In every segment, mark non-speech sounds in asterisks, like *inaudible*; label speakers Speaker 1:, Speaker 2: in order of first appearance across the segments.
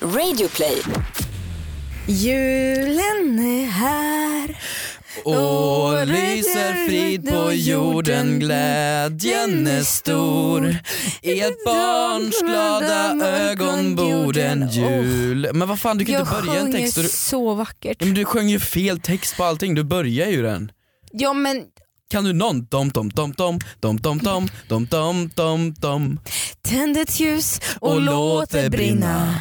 Speaker 1: Radioplay.
Speaker 2: Julen är här.
Speaker 3: Åh, lyser frid på jorden, glädjen är stor. I ett barns glada ögon bor en jul. Men vad fan, du kan
Speaker 2: Jag
Speaker 3: inte börja en
Speaker 2: sjöng
Speaker 3: text. och Du, Mm.
Speaker 2: så vackert.
Speaker 3: Ja, men du sjöng ju fel text på allting, du börjar ju den.
Speaker 2: Ja men
Speaker 3: Kan du någon? Dom, dom, dom, dom, dom, dom, dom, dom, dom, dom, dom.
Speaker 2: tänd ett ljus och, låt det brinna.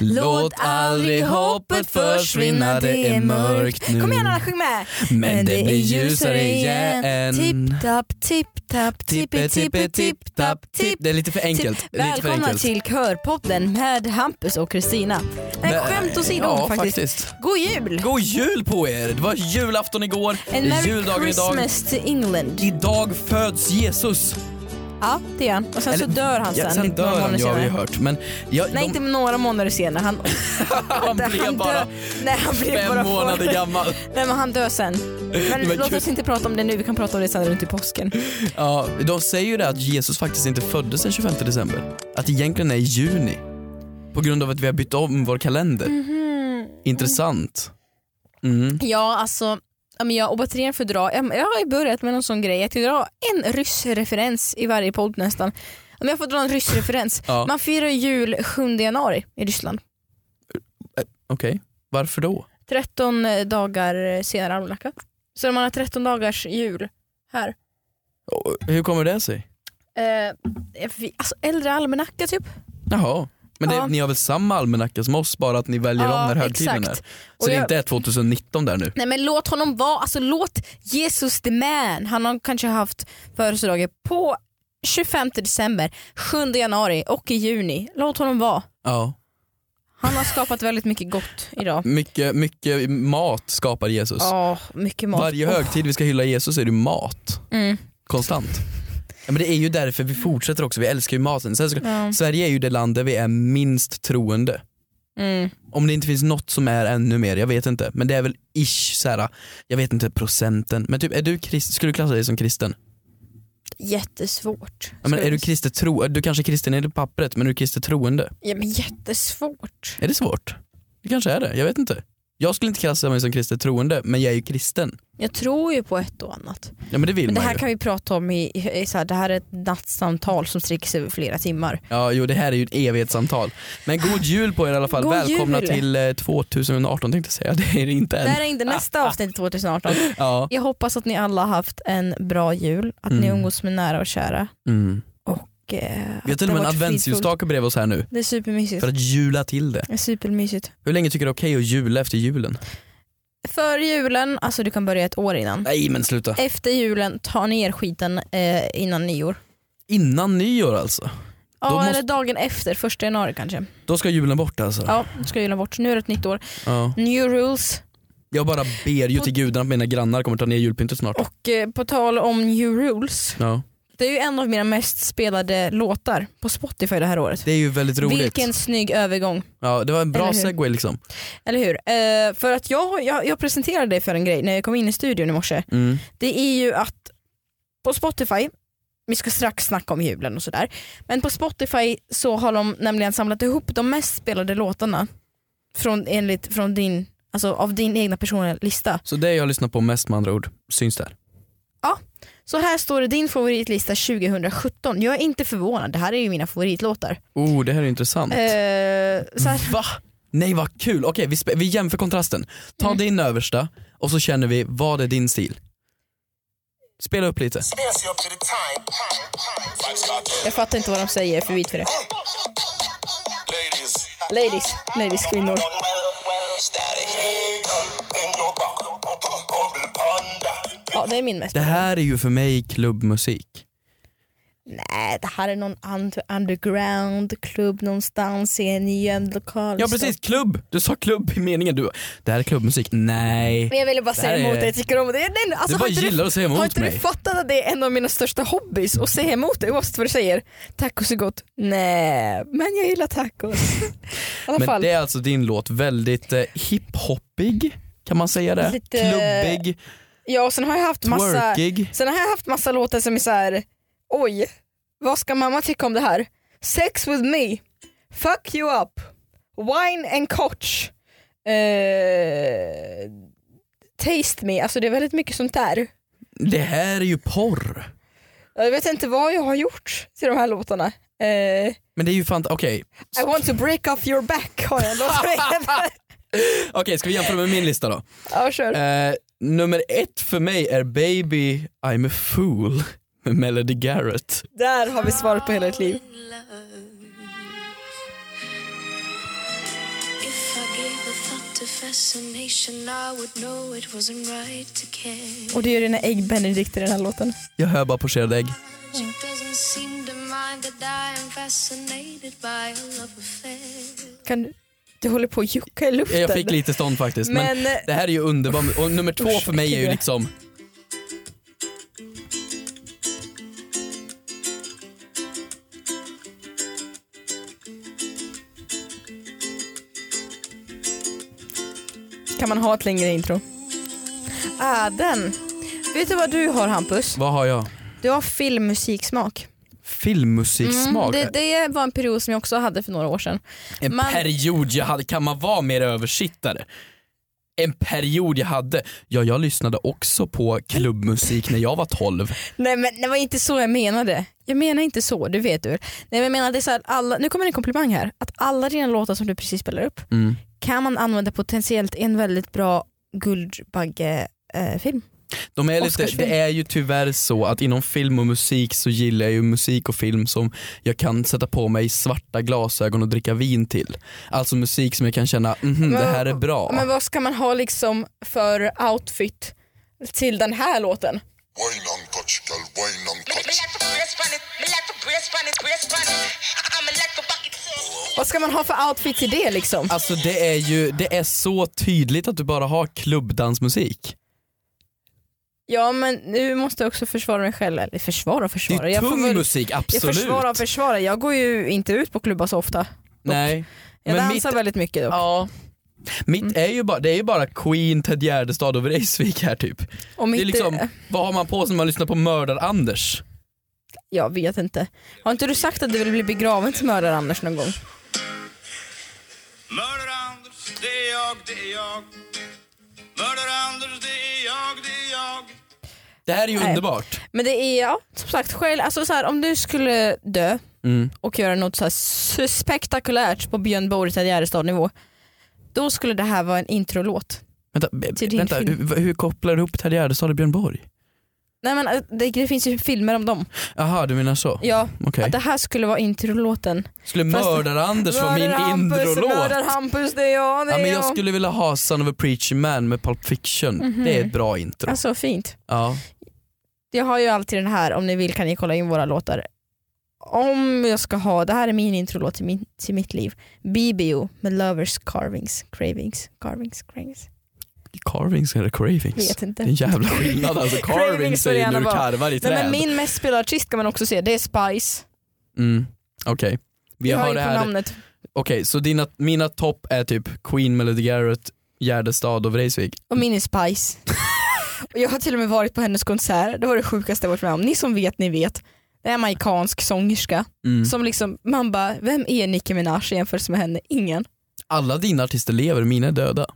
Speaker 3: Låt aldrig hoppet försvinna, det är mörkt nu.
Speaker 2: Kom igen Anna, sjung med.
Speaker 3: Men det blir ljusare igen.
Speaker 2: Tipp-tapp, tipp-tapp,
Speaker 3: Tippe, tippe, tipp, tapp, tipp.
Speaker 2: tipp.
Speaker 3: Det är lite för enkelt. Det är lite för
Speaker 2: Välkomna
Speaker 3: enkelt.
Speaker 2: till Körpodden med Hampus och Kristina. Nej,
Speaker 3: Men-
Speaker 2: skämt åsido
Speaker 3: ja,
Speaker 2: faktiskt.
Speaker 3: faktiskt.
Speaker 2: God jul!
Speaker 3: God jul på er! Det var julafton igår,
Speaker 2: And
Speaker 3: det är
Speaker 2: merry
Speaker 3: juldagen idag.
Speaker 2: Christmas to England.
Speaker 3: Idag föds Jesus.
Speaker 2: Ja, det är han. Och sen så
Speaker 3: Eller-
Speaker 2: dör han sen.
Speaker 3: Ja, sen
Speaker 2: inte några
Speaker 3: dör han,
Speaker 2: månader
Speaker 3: ja, har vi
Speaker 2: senare.
Speaker 3: hört. Men ja,
Speaker 2: Nej,
Speaker 3: de,
Speaker 2: inte några månader senare. Han,
Speaker 3: *laughs* han blev
Speaker 2: han
Speaker 3: bara
Speaker 2: dör- Nej, han blev bara
Speaker 3: fem månader
Speaker 2: full.
Speaker 3: gammal.
Speaker 2: Nej, men han dör sen. Men
Speaker 3: Men
Speaker 2: låt
Speaker 3: gud.
Speaker 2: oss inte prata om det nu, vi kan prata om det sen runt i påsken.
Speaker 3: Ja, de säger ju det att Jesus faktiskt inte föddes den 25 december. Att det egentligen är i juni. På grund av att vi har bytt om vår kalender.
Speaker 2: Mm.
Speaker 3: Intressant. Mm.
Speaker 2: Ja, alltså. ja, Men jag, och återigen för att dra, jag, jag har ju börjat med någon sån grej, att jag drar en ryssreferens i varje podd nästan. Ja, Men jag får dra en ryssreferens.
Speaker 3: Ja.
Speaker 2: Man firar ju jul 7 januari i Ryssland.
Speaker 3: Okej, varför då?
Speaker 2: 13 dagar senare almanacka. Så man har 13 dagars jul här.
Speaker 3: Och Hur kommer det sig?
Speaker 2: Eh, vi- alltså äldre almanacka typ.
Speaker 3: Jaha. Men det,
Speaker 2: Ja.
Speaker 3: ni har väl samma almanacka som oss bara att ni väljer
Speaker 2: Ja,
Speaker 3: om när högtiden
Speaker 2: exakt.
Speaker 3: är?
Speaker 2: Och
Speaker 3: Så det
Speaker 2: jag-
Speaker 3: inte är 2019 där nu?
Speaker 2: Nej men låt honom vara, alltså låt Jesus the man. Han har kanske haft födelsedagar på 25 december, 7 januari och i juni. Låt honom vara.
Speaker 3: Ja.
Speaker 2: Han har skapat väldigt mycket gott idag.
Speaker 3: Mycket, mycket mat skapar Jesus.
Speaker 2: Ja, mycket mat.
Speaker 3: Varje högtid vi ska hylla Jesus är det ju mat.
Speaker 2: Mm.
Speaker 3: Konstant. Ja, men det är ju därför vi fortsätter också, vi älskar ju maten. Sen ska,
Speaker 2: Ja.
Speaker 3: Sverige är ju det land där vi är minst troende.
Speaker 2: Mm.
Speaker 3: Om det inte finns något som är ännu mer, jag vet inte. Men det är väl ish såhär, jag vet inte procenten. Men typ, är du krist, skulle du klassa dig som kristen?
Speaker 2: Jättesvårt.
Speaker 3: Ja, men är du kristet tro, du kanske är kristen i pappret men är du kristet troende?
Speaker 2: ja, men jättesvårt.
Speaker 3: Är det svårt? Det kanske är det, jag vet inte. Jag skulle inte klassa mig som kristet troende men jag är ju kristen.
Speaker 2: Jag tror ju på ett och annat.
Speaker 3: Ja men det vill
Speaker 2: Men det
Speaker 3: man
Speaker 2: här
Speaker 3: ju.
Speaker 2: kan vi prata om i, i i så här, det här är ett nattsamtal som sträcker sig över flera timmar.
Speaker 3: Ja, jo det här är ju ett evighetssamtal. Men god jul på er i alla fall.
Speaker 2: God
Speaker 3: Välkomna
Speaker 2: jul.
Speaker 3: till eh, 2018 tänkte jag säga, *laughs* det är det inte
Speaker 2: Det här
Speaker 3: än.
Speaker 2: är inte
Speaker 3: ah,
Speaker 2: nästa avsnitt 2018.
Speaker 3: Ja.
Speaker 2: Jag hoppas att ni alla har haft en bra jul, att ni
Speaker 3: Mm.
Speaker 2: umgås med nära och kära.
Speaker 3: Mm.
Speaker 2: Och, eh,
Speaker 3: Vi har
Speaker 2: att
Speaker 3: till och
Speaker 2: det
Speaker 3: med
Speaker 2: har varit
Speaker 3: en
Speaker 2: fridfullt.
Speaker 3: adventsljusstake bredvid oss här nu
Speaker 2: Det är supermysigt.
Speaker 3: för att jula till det.
Speaker 2: Det är supermysigt.
Speaker 3: Hur länge tycker du det är okej att jula efter julen?
Speaker 2: För julen, alltså du kan börja ett år innan.
Speaker 3: Nej men sluta.
Speaker 2: Efter julen, ta ner skiten eh, innan nyår.
Speaker 3: Innan nyår alltså?
Speaker 2: Ja,
Speaker 3: Då måste-
Speaker 2: eller dagen efter, första januari kanske.
Speaker 3: Då ska julen bort alltså?
Speaker 2: Ja, då ska julen bort. Nu är det ett nytt år.
Speaker 3: Ja.
Speaker 2: New rules.
Speaker 3: Jag bara ber ju
Speaker 2: På-
Speaker 3: till gudarna att mina grannar kommer ta ner julpyntet snart.
Speaker 2: Och eh, på tal om new rules,
Speaker 3: Ja.
Speaker 2: det är ju en av mina mest spelade låtar på Spotify det här året.
Speaker 3: Det är ju väldigt roligt.
Speaker 2: Vilken snygg övergång.
Speaker 3: Ja, det var en bra
Speaker 2: Eller hur?
Speaker 3: segway liksom.
Speaker 2: Eller hur? Eh, för att jag, jag, jag presenterade dig för en grej när jag kom in i studion i morse.
Speaker 3: Mm.
Speaker 2: Det är ju att på Spotify, vi ska strax snacka om julen och sådär, men på Spotify så har de nämligen samlat ihop de mest spelade låtarna från, enligt, från din, alltså av din egna personliga lista.
Speaker 3: Så det jag lyssnar på mest med andra ord syns där.
Speaker 2: Så här står det din favoritlista 2017. Jag är inte förvånad, det här är ju mina favoritlåtar.
Speaker 3: Oh, det här är intressant.
Speaker 2: Eh, så här,
Speaker 3: Va? Nej vad kul, okej vi, spe- vi jämför kontrasten. Ta
Speaker 2: Mm.
Speaker 3: din översta och så känner vi, vad är din stil? Spela upp lite.
Speaker 4: Dance you up to the time. Five spot.
Speaker 2: jag fattar inte vad de säger, jag är för vit för det.
Speaker 4: Ladies.
Speaker 2: Ladies, ladies, kvinnor.
Speaker 4: Static head up in your back. Humble panda.
Speaker 2: Ja, det är min mest.
Speaker 3: Det här är ju för mig klubbmusik.
Speaker 2: Nej, det här är någon und underground-klubb någonstans i en gömd lokal.
Speaker 3: Ja precis, klubb! Du sa klubb i meningen. Du, det här är klubbmusik. Nej.
Speaker 2: Men jag ville bara
Speaker 3: Det
Speaker 2: säga
Speaker 3: här
Speaker 2: emot
Speaker 3: är-
Speaker 2: dig, jag tycker om det. Nej, alltså,
Speaker 3: Du bara
Speaker 2: har inte
Speaker 3: gillar att säga
Speaker 2: Har
Speaker 3: emot
Speaker 2: inte du
Speaker 3: mig.
Speaker 2: fattat att det är en av mina största hobbys att säga emot dig oavsett vad du säger? Tacos är gott. Nej, men jag gillar tacos. *laughs* I alla
Speaker 3: Men
Speaker 2: fall.
Speaker 3: det är alltså din låt, väldigt eh, hiphoppig, kan man säga det?
Speaker 2: Lite-
Speaker 3: Klubbig,
Speaker 2: Ja, och sen har jag haft massa,
Speaker 3: twerkig.
Speaker 2: sen har jag haft massa låtar som är så här. oj, vad ska mamma tycka om det här? Sex with me, fuck you up, Wine and Koch. Eh, taste me, alltså det är väldigt mycket sånt där.
Speaker 3: Det här är ju porr.
Speaker 2: Jag vet inte vad jag har gjort till de här låtarna. Eh,
Speaker 3: Men det är ju fantastiskt. Okej,
Speaker 2: I want to break off your back har jag en låt som heter.
Speaker 3: Okej, ska vi jämföra med min lista då?
Speaker 2: Ja, kör.
Speaker 3: Eh, nummer ett för mig är Baby I'm a fool med Melody Garrett.
Speaker 2: Där har vi svaret på hela ditt liv.
Speaker 1: If I gave a thought to fascination, I would know it wasn't right to care.
Speaker 2: Och det är dina ägg Benedikt i den här låten.
Speaker 3: Jag hör bara pocherade ägg.
Speaker 1: She doesn't seem to mind that I am fascinated by a love affair.
Speaker 2: Kan du, du håller på att jucka i luften.
Speaker 3: Jag fick lite stånd faktiskt. Men,
Speaker 2: Men- eh,
Speaker 3: det här är ju underbart. Och nummer två
Speaker 2: Usch,
Speaker 3: för mig är ju
Speaker 2: äckliga.
Speaker 3: liksom...
Speaker 2: Kan man ha ett längre intro? Ah, den. Vet du vad du har Hampus?
Speaker 3: Vad har jag?
Speaker 2: Du har filmmusiksmak. Mm.
Speaker 3: Filmmusiksmak.
Speaker 2: det, det var en period som jag också hade för några år sedan.
Speaker 3: En
Speaker 2: Man-
Speaker 3: period jag hade, kan man vara mer översittare? En period jag hade, ja jag lyssnade också på klubbmusik när jag var 12.
Speaker 2: Nej men det var inte så jag menade. Jag menar inte så, du vet du. Nej, men jag menar, det är så här, alla, nu kommer en komplimang här. Att alla dina låtar som du precis spelar upp
Speaker 3: Mm.
Speaker 2: kan man använda potentiellt i en väldigt bra Guldbaggefilm.
Speaker 3: De är lite,
Speaker 2: Oscarsfilm.
Speaker 3: det är ju tyvärr så att inom film och musik så gillar jag ju musik och film som jag kan sätta på mig svarta glasögon och dricka vin till. Alltså musik som jag kan känna, mhm det här är bra.
Speaker 2: Men vad ska man ha liksom för outfit till den här låten?
Speaker 4: Wine on touch, girl, wine on
Speaker 5: Me
Speaker 4: touch.
Speaker 5: like to brace on it, me like to brace on it, brace on it. I'm a like to buck it.
Speaker 2: Vad ska man ha för outfit till det liksom?
Speaker 3: Alltså det är ju, det är så tydligt att du bara har klubbdansmusik.
Speaker 2: Ja men nu måste jag också försvara mig själv. Eller försvara och
Speaker 3: Det
Speaker 2: försvara.
Speaker 3: är ju
Speaker 2: jag
Speaker 3: tung
Speaker 2: får väl-
Speaker 3: musik, absolut.
Speaker 2: Jag försvarar och försvarar. Jag går ju inte ut på klubbar så ofta.
Speaker 3: Nej.
Speaker 2: Jag
Speaker 3: Men
Speaker 2: dansar Mm.
Speaker 3: mitt-
Speaker 2: väldigt mycket dock.
Speaker 3: Ja. Mitt är ju bara, det är ju bara Queen, Ted Gärdestad och Vreeswijk här typ.
Speaker 2: Och
Speaker 3: Det
Speaker 2: mitt,
Speaker 3: är liksom, vad har man på sig när man lyssnar på Mördar-Anders?
Speaker 2: Jag vet inte. Har inte du sagt att du vill bli begraven som mördare Anders någon gång?
Speaker 6: Mördar-Anders, det är jag, det är jag. Mördar-Anders, det är jag, det är jag.
Speaker 3: Det här är ju
Speaker 2: Nej.
Speaker 3: underbart.
Speaker 2: Men det är, ja, som sagt, själv, alltså så här, om du skulle dö
Speaker 3: Mm.
Speaker 2: och göra något så här s- spektakulärt på Björn Borg till Gärdestad nivå då skulle det här vara en introlåt.
Speaker 3: Vänta, b-
Speaker 2: Till din
Speaker 3: vänta
Speaker 2: film.
Speaker 3: hur, hur kopplar du ihop Ted Gärdestad och Björn Borg?
Speaker 2: Nej men eh, det, det finns ju filmer om dem.
Speaker 3: Jaha, du menar så?
Speaker 2: Ja,
Speaker 3: Okej.
Speaker 2: att det här skulle vara introlåten.
Speaker 3: Skulle
Speaker 2: Fast-
Speaker 3: Mördar-Anders vara min introlåt?
Speaker 2: Mördar Hampus, det är jag, det
Speaker 3: Ja,
Speaker 2: är
Speaker 3: men
Speaker 2: jag.
Speaker 3: jag skulle vilja ha Son of a Preacher Man med Pulp Fiction.
Speaker 2: Mhm.
Speaker 3: Det är ett bra intro.
Speaker 2: Alltså fint.
Speaker 3: ja.
Speaker 2: Jag har ju alltid den här, om ni vill kan ni kolla in våra låtar. Om jag ska ha, det här är min introlåt till, min, till mitt liv. BBO med Lovers Carvings, Cravings, Carvings, Cravings.
Speaker 3: Carvings eller cravings?
Speaker 2: Vet inte.
Speaker 3: Det är en jävla skillnad alltså. Carvings
Speaker 2: *laughs* Cravings får
Speaker 3: är
Speaker 2: det
Speaker 3: ju när
Speaker 2: gärna
Speaker 3: du
Speaker 2: vara.
Speaker 3: karvar i
Speaker 2: Nej,
Speaker 3: träd.
Speaker 2: men min mest spelade artist kan man också se, det är Spice.
Speaker 3: mm. Okej. Vi
Speaker 2: Jag
Speaker 3: har
Speaker 2: ju
Speaker 3: det
Speaker 2: på
Speaker 3: här
Speaker 2: namnet.
Speaker 3: Okej, så dina, mina topp är typ Queen, Melody Garrett, Gärdestad och Vreeswijk.
Speaker 2: Och min är
Speaker 3: *laughs*
Speaker 2: Spice. och jag har till och med varit på hennes konsert, det var det sjukaste jag varit med om. Ni som vet, ni vet. Det är en amerikansk sångerska.
Speaker 3: Mm.
Speaker 2: Som liksom, man bara, vem är Nicki Minaj jämfört med henne? Ingen.
Speaker 3: Alla dina artister lever, mina är döda.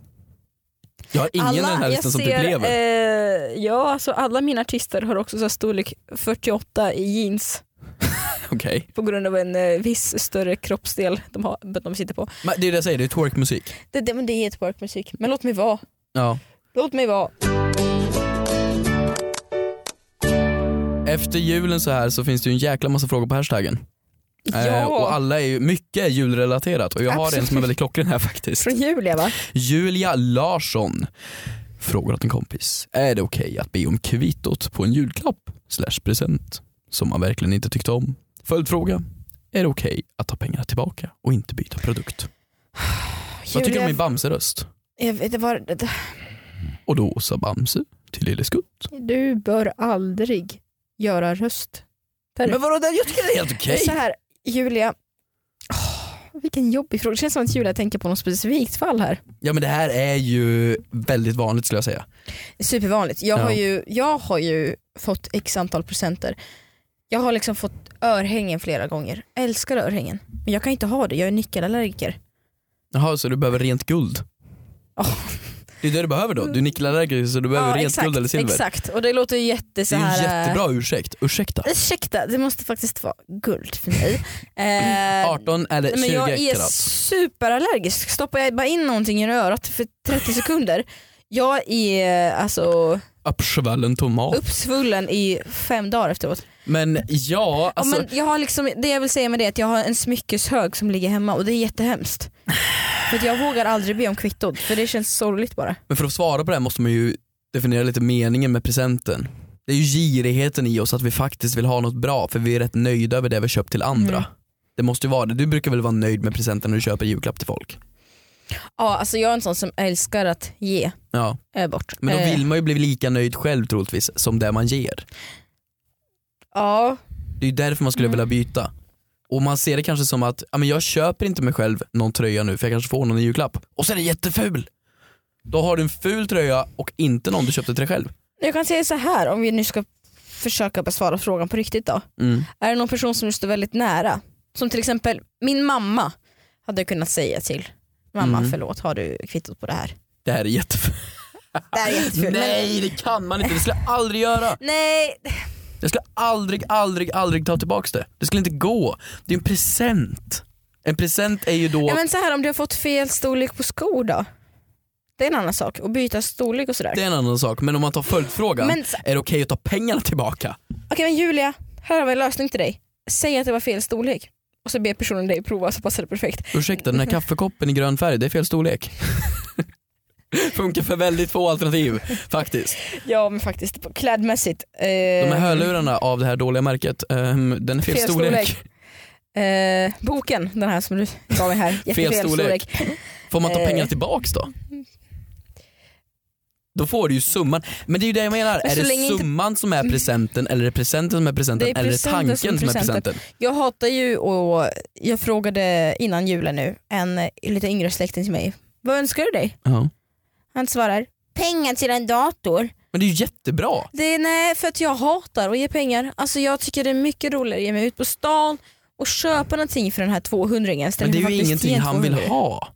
Speaker 3: Jag har ingen i den här
Speaker 2: jag
Speaker 3: listan som typ
Speaker 2: ser,
Speaker 3: lever.
Speaker 2: Eh, ja, alltså alla mina artister har också så här storlek 48 i jeans
Speaker 3: Okej.
Speaker 2: på grund av en eh, viss större kroppsdel de, har, de sitter på.
Speaker 3: Men Det är det jag säger, det är twerkmusik.
Speaker 2: Det, det, men det är ett workmusik, men låt mig vara.
Speaker 3: Ja.
Speaker 2: Låt mig vara.
Speaker 3: Efter julen så här så finns det ju en jäkla massa frågor på hashtaggen.
Speaker 2: Ja,
Speaker 3: Eh, och alla är ju, mycket är julrelaterat och jag har en som är
Speaker 2: Absolut.
Speaker 3: väldigt klockren här faktiskt.
Speaker 2: från Julia va?
Speaker 3: Julia Larsson frågar åt en kompis. Är det okej att be om kvittot på en julklapp slash present som man verkligen inte tyckte om? Följdfråga. Är det okej att ta pengarna tillbaka och inte byta produkt? Vad tycker du om min Bamse-röst?
Speaker 2: jag vet, det var, det,
Speaker 3: Och då sa Bamse till Lille Skutt.
Speaker 2: Du bör aldrig göra röst. Där.
Speaker 3: Men vadå, jag tycker det är helt okej.
Speaker 2: Så här, Julia, Åh, vilken jobbig fråga. Det känns som att Julia tänker på något specifikt fall här.
Speaker 3: Ja men det här är ju väldigt vanligt skulle jag säga.
Speaker 2: Supervanligt. Jag,
Speaker 3: Ja.
Speaker 2: har ju, jag har ju fått x antal presenter. Jag har liksom fått örhängen flera gånger. Jag älskar örhängen. Men jag kan inte ha det, jag är nickelallergiker.
Speaker 3: Jaha, så du behöver rent guld?
Speaker 2: Åh.
Speaker 3: Det är det du behöver då? Du är nickelallergiker så du behöver
Speaker 2: Ja,
Speaker 3: rent
Speaker 2: exakt,
Speaker 3: guld eller silver?
Speaker 2: Exakt, och det låter ju jätte
Speaker 3: Det
Speaker 2: så
Speaker 3: är
Speaker 2: här...
Speaker 3: en
Speaker 2: eh,
Speaker 3: jättebra ursäkt, ursäkta.
Speaker 2: Ursäkta, det måste faktiskt vara guld för *clears throat* mig. Eh,
Speaker 3: 18 eller
Speaker 2: Nej, men
Speaker 3: 20
Speaker 2: jag är
Speaker 3: karat.
Speaker 2: superallergisk. Stoppar jag bara in någonting i örat för 30 sekunder, jag är alltså
Speaker 3: Uppsvällen tomat.
Speaker 2: uppsvullen i fem dagar efteråt.
Speaker 3: Men ja,
Speaker 2: Ja,
Speaker 3: alltså,
Speaker 2: men jag har liksom, det jag vill säga med det är att jag har en smyckeshög som ligger hemma och det är
Speaker 3: *sighs*
Speaker 2: jättehemskt. för att jag vågar aldrig be om kvittot för det känns sorgligt bara.
Speaker 3: men för att svara på det här måste man ju definiera lite meningen med presenten. Det är ju girigheten i oss att vi faktiskt vill ha något bra för vi är rätt nöjda över det vi köpt till andra. Det måste ju vara det. Du brukar väl vara nöjd med presenten när du köper julklapp till folk?
Speaker 2: Ja, alltså jag är en sån som älskar att ge
Speaker 3: Ja,
Speaker 2: eh, bort.
Speaker 3: men då
Speaker 2: Eh,
Speaker 3: vill man ju bli lika nöjd själv troligtvis som det man ger.
Speaker 2: Ja,
Speaker 3: Det är ju därför man skulle vilja byta. Och man ser det kanske som att, ja, men jag köper inte mig själv någon tröja nu för jag kanske får någon i julklapp. Och så är den jätteful! Då har du en ful tröja och inte någon du köpte till dig själv.
Speaker 2: jag kan säga så här om vi nu ska försöka besvara frågan på riktigt då.
Speaker 3: Mm.
Speaker 2: Är det någon person som du står väldigt nära? Som till exempel min mamma hade jag kunnat säga till. Mamma
Speaker 3: Mm.
Speaker 2: förlåt, har du kvittot på det här?
Speaker 3: Det här är jättefult.
Speaker 2: Det här är jättefult. Men,
Speaker 3: Nej det kan man inte, det skulle jag aldrig göra.
Speaker 2: nej,
Speaker 3: Jag skulle aldrig, aldrig, aldrig ta tillbaka det. Det skulle inte gå. Det är en present. En present är ju då,
Speaker 2: ja, men så här om du har fått fel storlek på skor då? Det är en annan sak, att byta storlek och sådär.
Speaker 3: det är en annan sak, men om man tar följdfrågan,
Speaker 2: Men så-
Speaker 3: är det okej att ta pengarna tillbaka?
Speaker 2: Okej men Julia, här har vi en lösning till dig. Säg att det var fel storlek och så ber personen dig prova så passar det perfekt.
Speaker 3: Ursäkta, den här kaffekoppen i grön färg, det är fel storlek. *laughs* Funkar för väldigt få alternativ faktiskt.
Speaker 2: Ja men faktiskt, klädmässigt. Eh,
Speaker 3: De här hörlurarna av det här dåliga märket, ehm, den är fel, storlek.
Speaker 2: Eh, boken, den här som du gav
Speaker 3: *laughs*
Speaker 2: mig här. Jättefel
Speaker 3: storlek.
Speaker 2: storlek.
Speaker 3: Får man ta
Speaker 2: Eh.
Speaker 3: pengarna tillbaks då? Då får du ju summan. Men det är ju det jag menar,
Speaker 2: Men
Speaker 3: är
Speaker 2: så
Speaker 3: det
Speaker 2: länge inte-
Speaker 3: summan som är presenten eller är det presenten som är presenten
Speaker 2: Det är
Speaker 3: eller är det
Speaker 2: presenten
Speaker 3: tanken
Speaker 2: som
Speaker 3: som
Speaker 2: är
Speaker 3: är presenten?
Speaker 2: presenten. Jag hatar ju och jag frågade innan julen nu en eh, lite yngre släkting till mig. Vad önskar du dig?
Speaker 3: Ja.
Speaker 2: Han svarar pengar till en dator.
Speaker 3: Men det är ju jättebra.
Speaker 2: Det är nej för att jag hatar att ge pengar. Alltså jag tycker det är mycket roligare att ge mig ut på stan och köpa någonting för den här 200-ringen
Speaker 3: Men
Speaker 2: istället
Speaker 3: det
Speaker 2: för
Speaker 3: är
Speaker 2: att
Speaker 3: ju
Speaker 2: faktiskt ge
Speaker 3: ingenting
Speaker 2: en
Speaker 3: han vill
Speaker 2: 200.
Speaker 3: ha.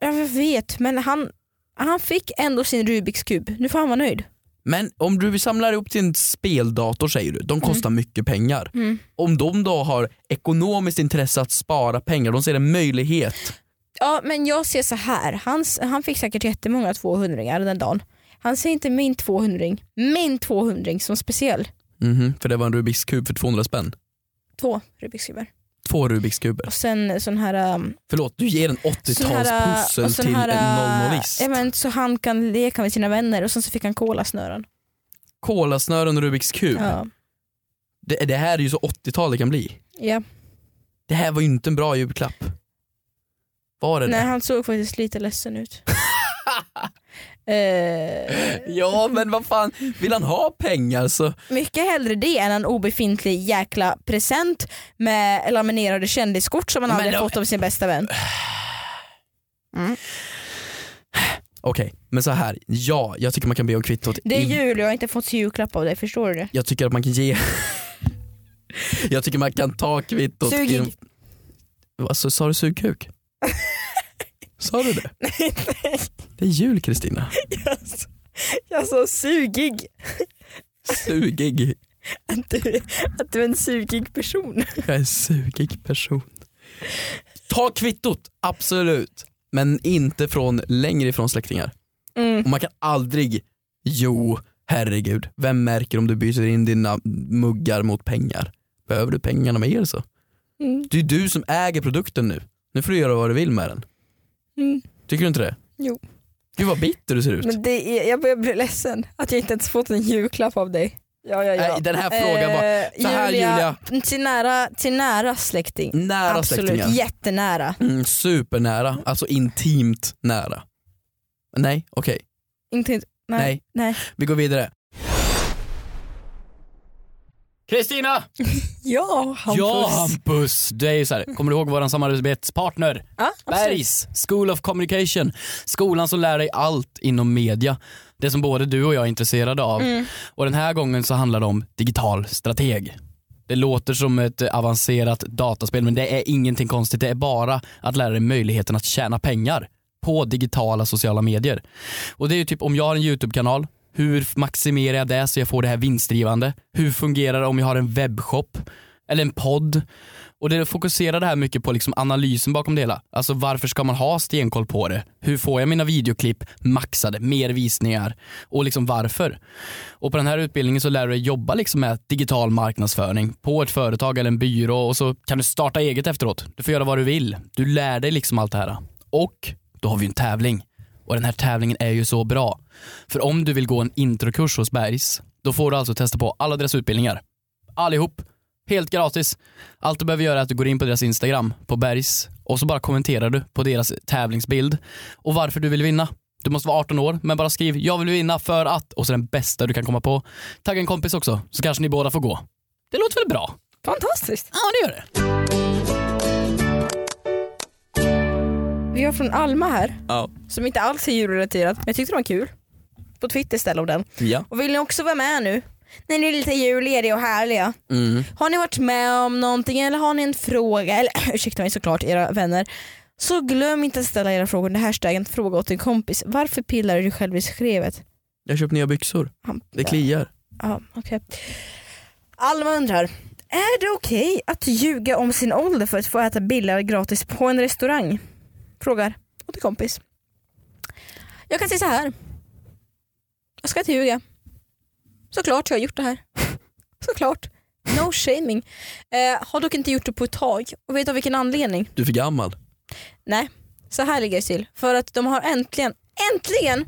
Speaker 2: Jag vet men han, han fick ändå sin Rubiks kub. Nu får han vara nöjd.
Speaker 3: Men om du samlar ihop till en speldator säger du,
Speaker 2: Mm.
Speaker 3: de kostar mycket pengar. Om de då har ekonomiskt intresse att spara pengar, de ser en möjlighet.
Speaker 2: Ja men jag ser så här. Hans, han fick säkert jättemånga 200-ringar den dagen. Han ser inte min 200-ring, min 200-ring som speciell.
Speaker 3: Mhm, för det var en Rubiks kub för 200 spänn.
Speaker 2: Två Rubiks kuber.
Speaker 3: Två Rubiks kuber.
Speaker 2: Och sen sån här... um,
Speaker 3: Förlåt, du ger en
Speaker 2: sån här, uh,
Speaker 3: 80-talspussel
Speaker 2: och sån
Speaker 3: till
Speaker 2: här, uh,
Speaker 3: en 00-ist.
Speaker 2: ja, men, Så han kan leka med sina vänner och sen så fick han kolasnören.
Speaker 3: Kolasnören och Rubiks kub.
Speaker 2: Ja.
Speaker 3: Det, det här är ju så 80-tal det kan bli.
Speaker 2: Ja.
Speaker 3: Det här var ju inte en bra julklapp. Var det
Speaker 2: Nej
Speaker 3: det?
Speaker 2: han såg faktiskt lite ledsen
Speaker 3: *laughs*
Speaker 2: ut. eh,
Speaker 3: Ja men vad fan, vill han ha pengar så...
Speaker 2: mycket hellre det än en obefintlig jäkla present med laminerade kändiskort som han
Speaker 3: Men
Speaker 2: aldrig
Speaker 3: då-
Speaker 2: fått av sin bästa vän.
Speaker 3: Okej, men så här. ja jag tycker man kan be om kvittot.
Speaker 2: Det är
Speaker 3: i-
Speaker 2: jul och jag har inte fått julklapp av dig, förstår
Speaker 3: *laughs*
Speaker 2: du det?
Speaker 3: Jag tycker att man kan ge... jag tycker man kan ta kvittot.
Speaker 2: Sug
Speaker 3: i- Alltså, sa du sugkuk?
Speaker 2: *laughs*
Speaker 3: sa du det? Det är jul Kristina.
Speaker 2: Jag sa sugig,
Speaker 3: Sugig.
Speaker 2: att du, att du är en sugig person.
Speaker 3: Jag är en sugig person. Ta kvittot, absolut. Men inte från längre ifrån släktingar.
Speaker 2: Mm.
Speaker 3: Och man kan aldrig, jo herregud, vem märker om du byter in dina muggar mot pengar? Behöver du pengarna med er så?
Speaker 2: Mm.
Speaker 3: Det är du som äger produkten nu. Nu får du göra vad du vill med den.
Speaker 2: Mm.
Speaker 3: Tycker du inte det?
Speaker 2: Jo.
Speaker 3: Gud vad bitter du ser ut.
Speaker 2: Men det är, jag börjar bli ledsen att jag inte ens fått en julklapp av dig. Ja, ja, ja.
Speaker 3: Nej, den här frågan var
Speaker 2: Eh,
Speaker 3: så här,
Speaker 2: Till nära, till nära släkting.
Speaker 3: nära
Speaker 2: Absolut,
Speaker 3: släktingar.
Speaker 2: jättenära.
Speaker 3: Mm, supernära, alltså intimt nära. Nej, okej.
Speaker 2: Inte, nej,
Speaker 3: Nej.
Speaker 2: nej.
Speaker 3: Vi går vidare. Kristina!
Speaker 2: Ja, Hampus.
Speaker 7: Ja Hampus, det är ju så här. kommer du ihåg vår samarbetspartner?
Speaker 2: Ja, absolut.
Speaker 7: Bergs School of Communication. Skolan som lär dig allt inom media. Det
Speaker 2: Mm.
Speaker 7: som både du och jag är intresserade av. Och den här gången så handlar det om digital strateg. Det låter som ett eh, avancerat dataspel men det är ingenting konstigt. Det är bara att lära dig möjligheten att tjäna pengar på digitala sociala medier. Och det är ju typ om jag har en YouTube-kanal, hur maximerar jag det så jag får det här vinstdrivande? Hur fungerar det om jag har en webbshop eller en podd? Och det fokuserar det här mycket på liksom analysen bakom det hela. Alltså varför ska man ha stenkoll på det? Hur får jag mina videoklipp maxade, mer visningar och liksom varför? Och på den här utbildningen så lär du dig jobba liksom med digital marknadsföring på ett företag eller en byrå och så kan du starta eget efteråt. Du får göra vad du vill. Du lär dig liksom allt det här. Och då har vi en tävling. Och den här tävlingen är ju så bra. För om du vill gå en introkurs hos Bergs, då får du alltså testa på alla deras utbildningar. Allihop. Helt gratis. Allt du behöver göra är att du går in på deras Instagram, på Bergs, och så bara kommenterar du på deras tävlingsbild och varför du vill vinna. Du måste vara 18 år, men bara skriv “Jag vill vinna för att” och så den bästa du kan komma på. Tagga en kompis också, så kanske ni båda får gå. Det låter väl bra?
Speaker 2: Fantastiskt.
Speaker 7: Ja, det gör det.
Speaker 2: Vi har från Alma här,
Speaker 3: Ja.
Speaker 2: som inte alls är djurrelaterat, men jag tyckte det var kul. På Twitter ställde hon den.
Speaker 3: Ja.
Speaker 2: Och vill ni också vara med nu? När ni är lite jullediga och härliga.
Speaker 3: Mm.
Speaker 2: Har ni varit med om någonting eller har ni en fråga, eller *clears throat* ursäkta mig såklart era vänner. Så glöm inte att ställa era frågor under hashtaggen fråga åt din kompis. Varför pillar du dig själv i skrevet?
Speaker 3: Jag har köpt nya byxor.
Speaker 2: Han-
Speaker 3: Det kliar.
Speaker 2: Ja, okej. Alma undrar, är det okej att ljuga om sin ålder för att få äta billigare gratis på en restaurang? Frågar åt en kompis. Jag kan säga så här. Jag ska inte ljuga. Såklart jag har gjort det här. Såklart. No shaming. Eh, har dock inte gjort det på ett tag. Och vet du av vilken anledning?
Speaker 3: Du är för gammal.
Speaker 2: Nej, så här ligger det till. För att de har äntligen, äntligen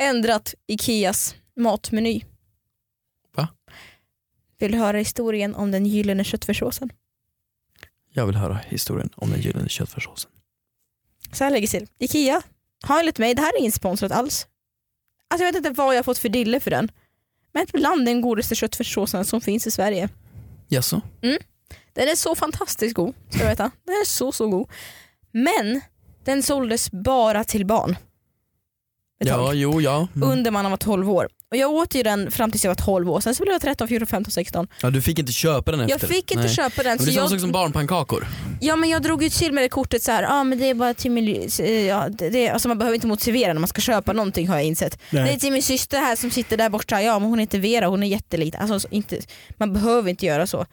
Speaker 2: ändrat Ikeas matmeny.
Speaker 3: Va?
Speaker 2: Vill du höra historien om den gyllene köttfärssåsen?
Speaker 3: Jag vill höra historien om den gyllene köttfärssåsen.
Speaker 2: Så här lägger det till. Ikea har enligt mig, det här är ingen sponsrat alls. Alltså jag vet inte vad jag har fått för dille för den. Men bland den godaste köttfärssåsen som finns i Sverige.
Speaker 3: Jaså?
Speaker 2: Den är så fantastiskt god, ska du veta. Den är så så god. Men den såldes bara till barn. Ett tag.
Speaker 3: Ja, jo, ja. Mm.
Speaker 2: under man var 12 år. Och jag åt ju den fram tills jag var 12 år, sen så blev jag 13, 14, 15, 16.
Speaker 3: ja. Du fick inte köpa den efter.
Speaker 2: Jag fick inte
Speaker 3: Nej.
Speaker 2: köpa den
Speaker 3: Men
Speaker 2: så
Speaker 3: det är samma
Speaker 2: jag,
Speaker 3: sak som barnpannkakor.
Speaker 2: ja, men jag drog ju till med det kortet så här, ja men det är bara till min, ja, det, det, alltså man behöver inte motivera när man ska köpa någonting har jag insett. Det är till min syster här som sitter där borta, ja men hon heter Vera hon är jätteliten. Alltså, så inte, man behöver inte göra så.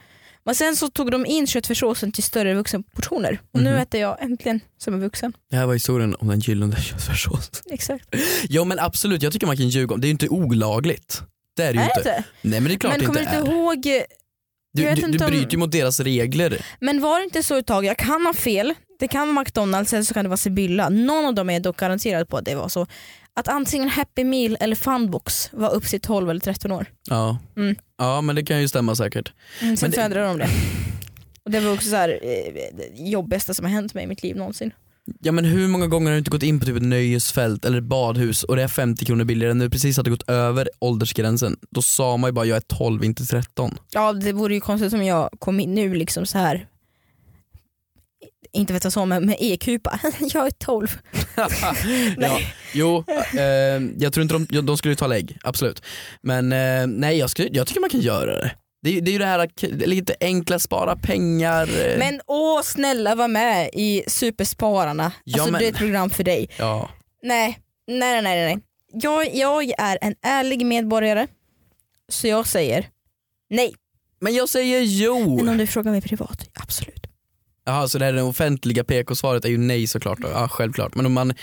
Speaker 2: Men sen så tog de in köttfärssåsen till större vuxenportioner och nu
Speaker 3: Mhm.
Speaker 2: äter jag äntligen som en vuxen.
Speaker 3: Det här var historien om den gyllene köttfärssåsen.
Speaker 2: Exakt.
Speaker 3: Ja men absolut, jag tycker man kan ljuga om det. är ju inte olagligt. Det är det ju
Speaker 2: Är det
Speaker 3: inte.
Speaker 2: inte?
Speaker 3: Nej men det är klart
Speaker 2: Men
Speaker 3: det
Speaker 2: kommer
Speaker 3: inte
Speaker 2: du inte
Speaker 3: är.
Speaker 2: ihåg eh,
Speaker 3: Du,
Speaker 2: Jag vet
Speaker 3: du, du
Speaker 2: inte om-
Speaker 3: bryter ju mot deras regler.
Speaker 2: Men var det inte så ett tag, jag kan ha fel, det kan vara McDonalds eller så kan det vara Sibylla, någon av dem är jag dock garanterad på att det var så. Att antingen Happy Meal eller Funbox var upp till 12 eller 13 år.
Speaker 3: Ja.
Speaker 2: Mm.
Speaker 3: ja men det kan ju stämma säkert.
Speaker 2: Mm, sen
Speaker 3: Men det-
Speaker 2: förändrade de det. Och det var också så här, eh, det jobbigaste som har hänt mig i mitt liv någonsin.
Speaker 3: Ja men hur många gånger har du inte gått in på typ ett nöjesfält eller ett badhus och det är 50 kronor billigare när du precis hade gått över åldersgränsen. Då sa man ju bara jag är 12
Speaker 2: *laughs*
Speaker 3: inte 13.
Speaker 2: Ja det vore ju konstigt om jag kom in nu liksom så här inte vet jag så men med EQ bara, *laughs* jag är 12.
Speaker 3: Ja, jo, eh, jag tror inte de, ja, de skulle ju ta lägg, absolut. Men eh, nej jag, skulle, jag tycker man kan göra det. Det är, ju- det är ju det här att- det är lite enkla spara pengar. eh,
Speaker 2: Men åh snälla var med i Superspararna,
Speaker 3: Ja,
Speaker 2: alltså det är
Speaker 3: men-
Speaker 2: ett program för dig.
Speaker 3: Ja.
Speaker 2: Nej, nej, nej, nej. nej. Jag, jag är en ärlig medborgare, så jag säger nej.
Speaker 3: Men jag säger jo!
Speaker 2: Men om du frågar mig privat, absolut.
Speaker 3: Jaha, så det här är det offentliga PK-svaret är ju nej såklart. då. Ja, självklart. Men om man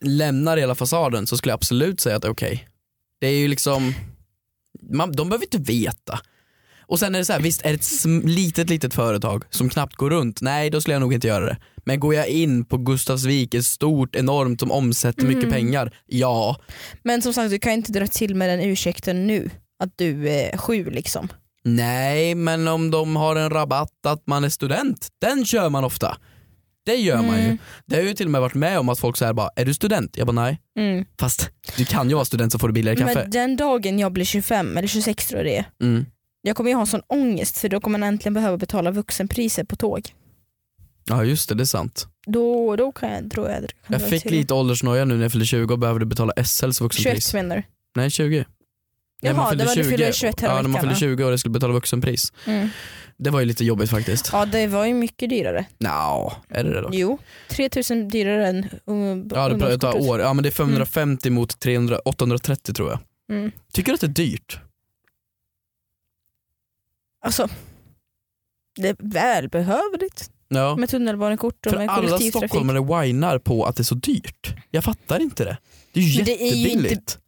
Speaker 3: lämnar hela fasaden så skulle jag absolut säga att det är okej. Det är ju liksom, man, de behöver inte veta. Och sen är det så här, visst är det ett sm- litet, litet företag som knappt går runt, nej då skulle jag nog inte göra det. Men går jag in på Gustavsvik, ett stort, enormt som omsätter mycket pengar, ja.
Speaker 2: Men som sagt, du kan ju inte dra till med den ursäkten nu, att du är sju liksom.
Speaker 3: Nej, men om de har en rabatt att man är student, den kör man ofta. Det gör man
Speaker 2: Mm.
Speaker 3: ju. Det har jag ju till och med varit med om att folk säger bara, är du student? Jag bara nej.
Speaker 2: Mm.
Speaker 3: Fast du kan ju vara student så får du billigare kaffe.
Speaker 2: Men den dagen jag blir 25 eller 26 tror jag det är,
Speaker 3: Mm.
Speaker 2: jag kommer ju ha sån ångest för då kommer man äntligen behöva betala vuxenpriser på tåg.
Speaker 3: Ja just det, det är sant.
Speaker 2: Då,
Speaker 3: då
Speaker 2: då kan jag, tror jag, kan
Speaker 3: Jag
Speaker 2: dra
Speaker 3: fick
Speaker 2: till.
Speaker 3: lite åldersnoja nu när jag fyllde 20 och behövde betala SLs
Speaker 2: 21
Speaker 3: vuxenpris.
Speaker 2: menar du?
Speaker 3: Nej 20.
Speaker 2: Jaha, det var- du fyller 21 här i
Speaker 3: ja, när man
Speaker 2: veckan,
Speaker 3: fyllde
Speaker 2: ja.
Speaker 3: 20 och det skulle betala vuxenpris.
Speaker 2: Mm.
Speaker 3: Det var ju lite jobbigt faktiskt.
Speaker 2: Ja det var ju mycket dyrare.
Speaker 3: Nja, är det det då?
Speaker 2: Jo, 3000 dyrare än um,
Speaker 3: Ja, det pratar
Speaker 2: ungdomskortet.
Speaker 3: år. Ja, men det är 550 mot 300, 830 tror jag.
Speaker 2: Mm.
Speaker 3: Tycker du att det är dyrt?
Speaker 2: Alltså, det är välbehövligt
Speaker 3: Ja.
Speaker 2: med tunnelbanekort och
Speaker 3: För
Speaker 2: med
Speaker 3: alla
Speaker 2: kollektivtrafik.
Speaker 3: stockholmare whinar på att det är så dyrt. Jag fattar inte det. Det är ju
Speaker 2: Men det är ju inte-
Speaker 3: jättebilligt.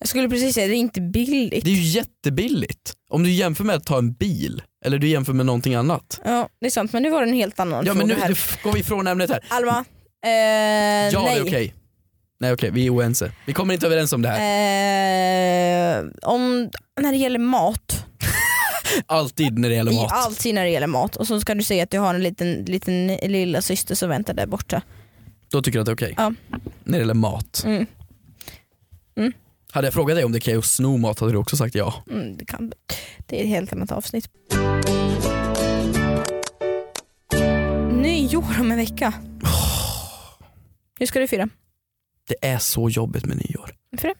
Speaker 2: Jag skulle precis säga det är inte billigt.
Speaker 3: Det är ju jättebilligt. Om du jämför med att ta en bil, eller du jämför med någonting annat.
Speaker 2: Ja det är sant men nu var det en helt annan
Speaker 3: Ja
Speaker 2: fråga
Speaker 3: men nu
Speaker 2: här.
Speaker 3: nu går vi ifrån ämnet här.
Speaker 2: Alma, eh,
Speaker 3: Ja det
Speaker 2: nej.
Speaker 3: är okej. Nej okej, vi är oense. Vi kommer inte överens om det här.
Speaker 2: Eh, om, när det gäller mat, Eh,
Speaker 3: Alltid när det gäller
Speaker 2: i
Speaker 3: mat.
Speaker 2: alltid när det gäller mat och så ska du säga att du har en liten, liten lilla syster som väntar där borta.
Speaker 3: Då tycker du att det är okej?
Speaker 2: Ja.
Speaker 3: När det gäller mat.
Speaker 2: Mm. Mm.
Speaker 3: Hade jag frågat dig om det är okej att sno mat hade du också sagt ja.
Speaker 2: Mm, det, kan, det är ett helt annat avsnitt. Nyår om en *sighs* vecka. Hur ska du fira?
Speaker 3: Det är så jobbigt med nyår.
Speaker 2: Varför det?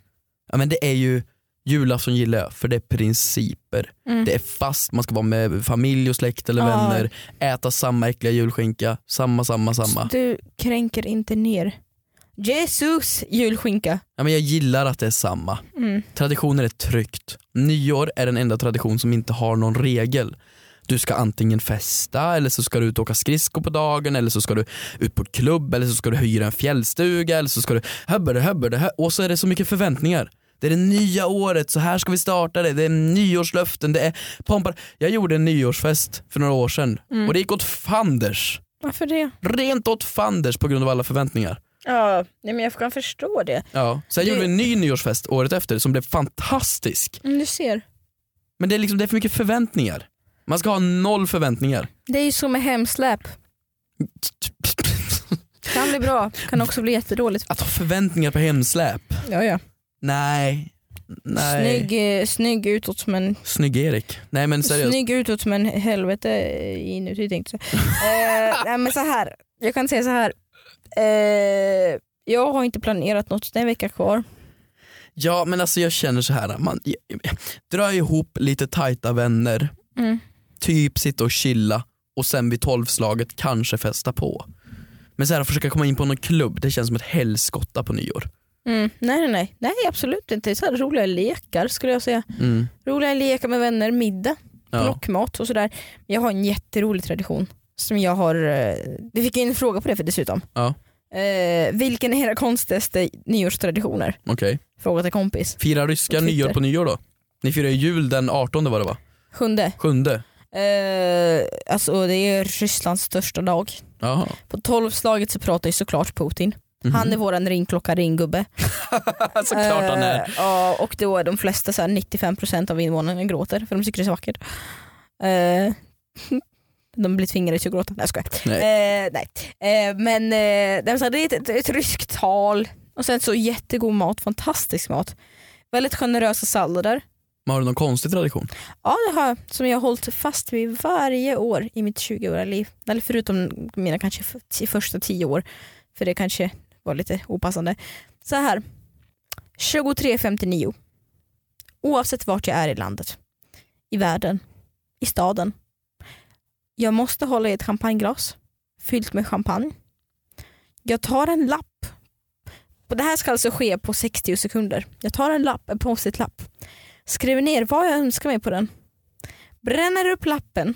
Speaker 3: Ja, men det är ju julafton gillar jag för det är principer.
Speaker 2: Mm.
Speaker 3: Det är fast, man ska vara med familj och släkt eller
Speaker 2: Ja.
Speaker 3: vänner, äta samma äckliga julskinka, samma samma samma.
Speaker 2: Du kränker inte ner. Jesus julskinka.
Speaker 3: Ja, men jag gillar att det är samma.
Speaker 2: Mm.
Speaker 3: Traditioner är tryggt. Nyår är den enda tradition som inte har någon regel. Du ska antingen festa, eller så ska du ut och åka skridskor på dagen, eller så ska du ut på klubb, eller så ska du hyra en fjällstuga, eller så ska du höbberde, höbberde, hö- och så är det så mycket förväntningar. Det är det nya året, så här ska vi starta det, det är nyårslöften, det är pompar. Jag gjorde en nyårsfest för några år sedan och det gick åt fanders.
Speaker 2: Varför det?
Speaker 3: Rent åt fanders på grund av alla förväntningar.
Speaker 2: Ja, nej men jag kan förstå det.
Speaker 3: Ja. Sen
Speaker 2: Det-
Speaker 3: gjorde vi en ny nyårsfest året efter som blev fantastisk.
Speaker 2: Mm, du ser.
Speaker 3: Men det är, liksom, det är för mycket förväntningar. Man ska ha noll förväntningar.
Speaker 2: Det är ju som med hemsläp. Kan bli bra, kan också bli jättedåligt.
Speaker 3: Att ha förväntningar på hemsläp?
Speaker 2: Ja, ja.
Speaker 3: Nej. Nej.
Speaker 2: Snygg, eh, snygg utåt men
Speaker 3: Snygg Erik. Nej men seriöst.
Speaker 2: Snygg utåt men helvete inuti tänkte jag säga.
Speaker 3: *laughs*
Speaker 2: eh, nej men så här. Jag kan säga så här. Eh, jag har inte planerat något, det är en vecka kvar.
Speaker 3: Ja men alltså jag känner så här. Man, dra ihop lite tajta vänner.
Speaker 2: Mm.
Speaker 3: Typ sitta och chilla och sen vid tolvslaget kanske festa på. Men så här, att försöka komma in på någon klubb, det känns som ett helskotta på nyår.
Speaker 2: Mm. Nej, nej nej nej absolut inte. Så här, roliga lekar skulle jag säga.
Speaker 3: Mm.
Speaker 2: Roliga lekar med vänner, middag,
Speaker 3: Ja.
Speaker 2: plockmat och sådär. Jag har en jätterolig tradition som jag har, eh, vi fick in en fråga på det för dessutom.
Speaker 3: Ja.
Speaker 2: Eh, vilken är era konstigaste nyårstraditioner?
Speaker 3: Okej.
Speaker 2: Fråga till kompis.
Speaker 3: Fira ryska
Speaker 2: Och Twitter.
Speaker 3: nyår på nyår då? Ni firar ju jul den 18 var det va?
Speaker 2: Sjunde,
Speaker 3: Sjunde?
Speaker 2: eh, alltså det är Rysslands största dag.
Speaker 3: Jaha.
Speaker 2: På tolvslaget så pratar ju såklart Putin.
Speaker 3: Mhm.
Speaker 2: Han är våran ringklocka, ringgubbe.
Speaker 3: *laughs* Såklart han är.
Speaker 2: Eh, Ja, och då är de flesta, så här, 95% av invånarna gråter för de tycker det är så vackert. Eh, *laughs* de blir tvingade till att gråta. Nej jag skojar.
Speaker 3: Nej.
Speaker 2: Eh, nej. Eh, men eh, det är så här, det är ett, ett, ett ryskt tal och sen så jättegod mat, fantastisk mat. Väldigt generösa sallader.
Speaker 3: Men har du någon konstig tradition?
Speaker 2: Ja det har jag, som jag har hållit fast vid varje år i mitt 20-åriga liv. Eller förutom mina kanske f- t- första 10 år. För det kanske var lite opassande. Så här. 23.59. Oavsett vart jag är i landet. I världen. I staden. Jag måste hålla i ett champagneglas. Fyllt med champagne. Jag tar en lapp. Och Det här ska alltså ske på 60 sekunder. Jag tar en lapp, en post lapp skriver ner vad jag önskar mig på den, bränner upp lappen,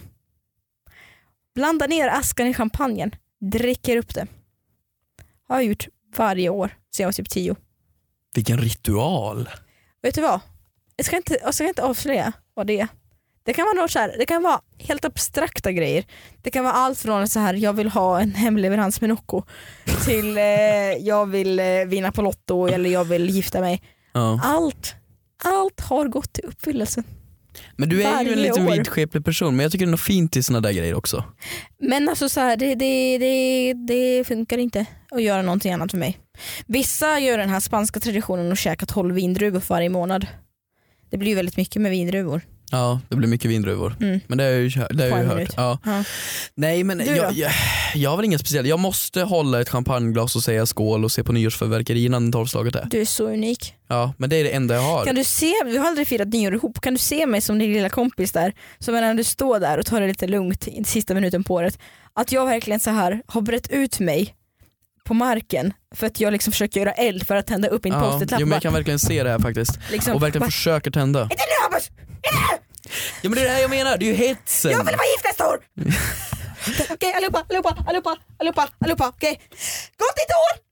Speaker 2: blandar ner askan i champagnen, dricker upp det. Har jag gjort varje år sedan jag var typ tio.
Speaker 3: Vilken ritual.
Speaker 2: Vet du vad? Jag ska inte, jag ska inte avslöja vad det är. Det kan vara något så här, det kan vara helt abstrakta grejer. Det kan vara allt från så här, jag vill ha en hemleverans med Nocco till eh, jag vill eh, vinna på Lotto eller jag vill gifta mig.
Speaker 3: Ja.
Speaker 2: Allt, allt har gått till uppfyllelse.
Speaker 3: Men du är ju
Speaker 2: Varje
Speaker 3: en liten
Speaker 2: år.
Speaker 3: vidskeplig person, men jag tycker det är något fint i såna där grejer också.
Speaker 2: Men alltså så här, det, det, det, det funkar inte att göra någonting annat för mig. Vissa gör den här spanska traditionen och käkar 12 vindruvor för varje månad. Det blir ju väldigt mycket med vindruvor.
Speaker 3: Ja, det blir mycket vindruvor.
Speaker 2: Mm.
Speaker 3: Men det har jag ju, kö- det har
Speaker 2: På
Speaker 3: jag
Speaker 2: en
Speaker 3: ju hört.
Speaker 2: minut.
Speaker 3: Ja.
Speaker 2: Ja.
Speaker 3: Nej men
Speaker 2: Du då?
Speaker 3: jag, jag, jag har väl inget speciellt. Jag måste hålla ett champagneglas och säga skål och se på nyårsfyrverkerier innan tolvslaget är.
Speaker 2: Du är så unik.
Speaker 3: Ja, men det är det enda jag har.
Speaker 2: Kan du se, vi har aldrig firat nyår ihop, kan du se mig som din lilla kompis där? Som när du står där och tar det lite lugnt i sista minuten på året. Att jag verkligen så här har brett ut mig på marken för att jag liksom försöker göra eld för att tända upp min
Speaker 3: ja,
Speaker 2: post-it-lapp.
Speaker 3: jo, men
Speaker 2: bara,
Speaker 3: jag kan verkligen se det här faktiskt.
Speaker 2: liksom,
Speaker 3: Och verkligen
Speaker 2: bara,
Speaker 3: försöker tända.
Speaker 2: Inte nu Hampus!
Speaker 3: Ja men det är det här jag menar, det är ju hetsen.
Speaker 2: Jag vill vara gift nästa *laughs* år! Okej allihopa, allihopa, allihopa, allihopa, allihopa, okej. Gott nytt år!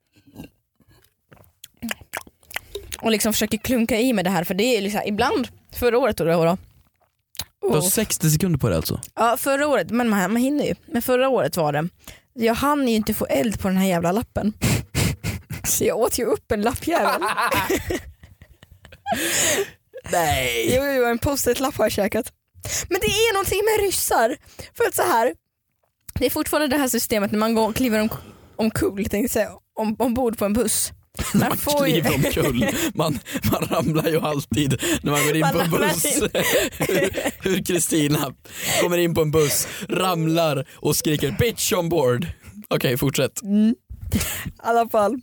Speaker 2: Och liksom försöker klunka i mig det här för det är liksom, ibland, förra året då, då, då
Speaker 3: Du har
Speaker 2: Och-
Speaker 3: 60 sekunder på det alltså.
Speaker 2: Ja förra året, men man, man hinner ju. Men förra året var det, jag hann ju inte få eld på den här jävla lappen. *laughs* Så jag åt ju upp en lappjävel.
Speaker 3: Nej.
Speaker 2: Jo, jo, en post-it-lapp har jag käkat. Men det är någonting med ryssar. För att så här, det är fortfarande det här systemet när man går och kliver om, omkull, tänkte jag säga, om, ombord på en buss. Man,
Speaker 3: Man
Speaker 2: får ju-
Speaker 3: kliver omkull, man, man ramlar ju alltid när man går in
Speaker 2: Man
Speaker 3: på en
Speaker 2: ramlar
Speaker 3: buss.
Speaker 2: in.
Speaker 3: Hur- *laughs* Hur Kristina kommer in på en buss, ramlar och skriker bitch on board. Okej, fortsätt.
Speaker 2: *laughs* I alla fall.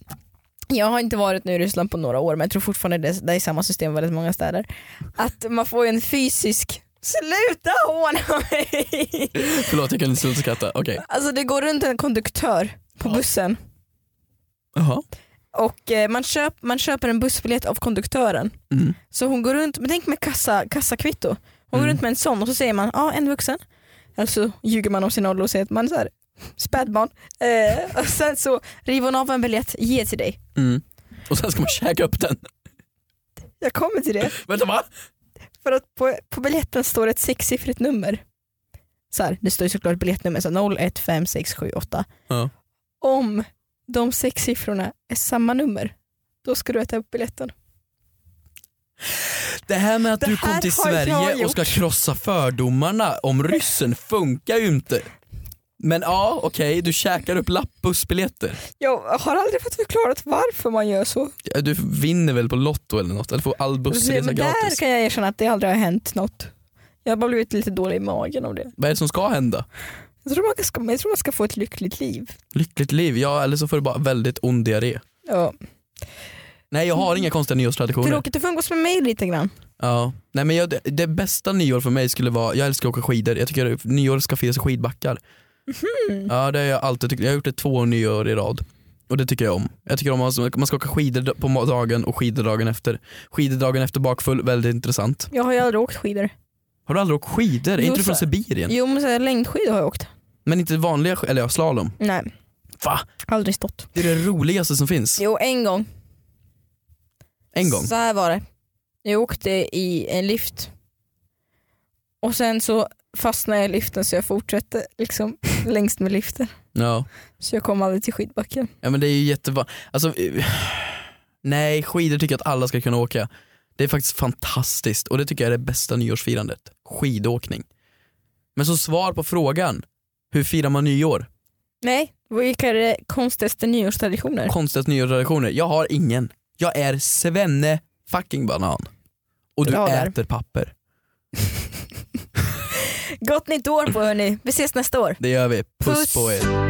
Speaker 2: Jag har inte varit nu i Ryssland på några år men jag tror fortfarande det, det är samma system i väldigt många städer. Att man får ju en fysisk Sluta håna mig! *laughs*
Speaker 3: Förlåt jag kunde inte sluta skratta. Okej.
Speaker 2: Alltså det går runt en konduktör på bussen
Speaker 3: Jaha.
Speaker 2: och eh, man, köp, man köper en bussbiljett av konduktören.
Speaker 3: Mm.
Speaker 2: Så hon går runt, men tänk med kassa, kassakvitto. Hon går
Speaker 3: Mm.
Speaker 2: runt med en sån och så säger man ja en vuxen. Alltså ljuger man om sin ålder och säger att man är så här, spädbarn. Eh, och sen så river hon av en biljett, ger till dig.
Speaker 3: Mm. Och sen ska man käka upp den.
Speaker 2: Jag kommer till det.
Speaker 3: Vänta va?
Speaker 2: För att på, på biljetten står ett sexsiffrigt nummer. Så här, det står ju såklart biljettnummer, så 015678.
Speaker 3: Ja.
Speaker 2: Om de sex siffrorna är samma nummer, då ska du äta upp biljetten.
Speaker 3: Det här med att
Speaker 2: Det
Speaker 3: du kom
Speaker 2: här
Speaker 3: till
Speaker 2: har jag
Speaker 3: Sverige och
Speaker 2: gjort.
Speaker 3: ska krossa fördomarna om ryssen funkar ju inte. Men ja, okej, du käkar upp lappbussbiljetter.
Speaker 2: Jag har aldrig fått förklarat varför man gör så.
Speaker 3: Ja, Du vinner väl på Lotto eller något? Eller får all bussresa
Speaker 2: Men där
Speaker 3: gratis?
Speaker 2: kan jag erkänna att det aldrig har hänt något. Jag har bara blivit lite dålig i magen av det.
Speaker 3: Vad är det som ska hända?
Speaker 2: Jag tror man ska, jag tror man ska få ett lyckligt liv.
Speaker 3: Lyckligt liv? Ja, eller så får du bara väldigt ond diarré.
Speaker 2: Ja.
Speaker 3: Nej, jag har inga konstiga nyårstraditioner.
Speaker 2: Mm. Tråkigt att få umgås med mig lite grann.
Speaker 3: Ja. Nej, men jag, det, det bästa nyår för mig skulle vara, jag älskar att åka skidor, jag tycker att nyår ska firas i skidbackar. Ja det har jag alltid tyckt, jag har gjort det två nyår i rad. Och det tycker jag om. Jag tycker om att man ska åka skidor på mo- dagen och skidor dagen efter. Skidor dagen efter bakfull, väldigt intressant.
Speaker 2: Jag har ju aldrig åkt skidor.
Speaker 3: Har du aldrig åkt skidor? Är
Speaker 2: Jo,
Speaker 3: inte du från
Speaker 2: så-
Speaker 3: Sibirien?
Speaker 2: Jo men så här, längdskidor har jag åkt.
Speaker 3: Men inte vanliga, sk- eller ja, slalom.
Speaker 2: Nej,
Speaker 3: Va?
Speaker 2: aldrig stått.
Speaker 3: Det är det roligaste som finns.
Speaker 2: Jo en gång.
Speaker 3: En gång.
Speaker 2: Så här var det. Jag åkte i en lift. Och sen så fastnade jag i liften så jag fortsatte
Speaker 3: *laughs*
Speaker 2: liksom längst med liften.
Speaker 3: Ja.
Speaker 2: Så jag kom aldrig till skidbacken.
Speaker 3: Ja men det är ju jättebra. Alltså, eh, nej, skidor tycker jag att alla ska kunna åka. Det är faktiskt fantastiskt och det tycker jag är det bästa nyårsfirandet. Skidåkning. Men så svar på frågan, hur firar man nyår?
Speaker 2: Nej, vilka är det konstigaste nyårstraditioner?
Speaker 3: Konstigaste nyårstraditioner? Jag har ingen. Jag är Svenne fucking banan. Och du
Speaker 2: Bra där.
Speaker 3: äter papper.
Speaker 2: Gott nytt år på hörni, vi ses nästa år.
Speaker 3: Det gör vi. Puss,
Speaker 2: Puss.
Speaker 3: på er.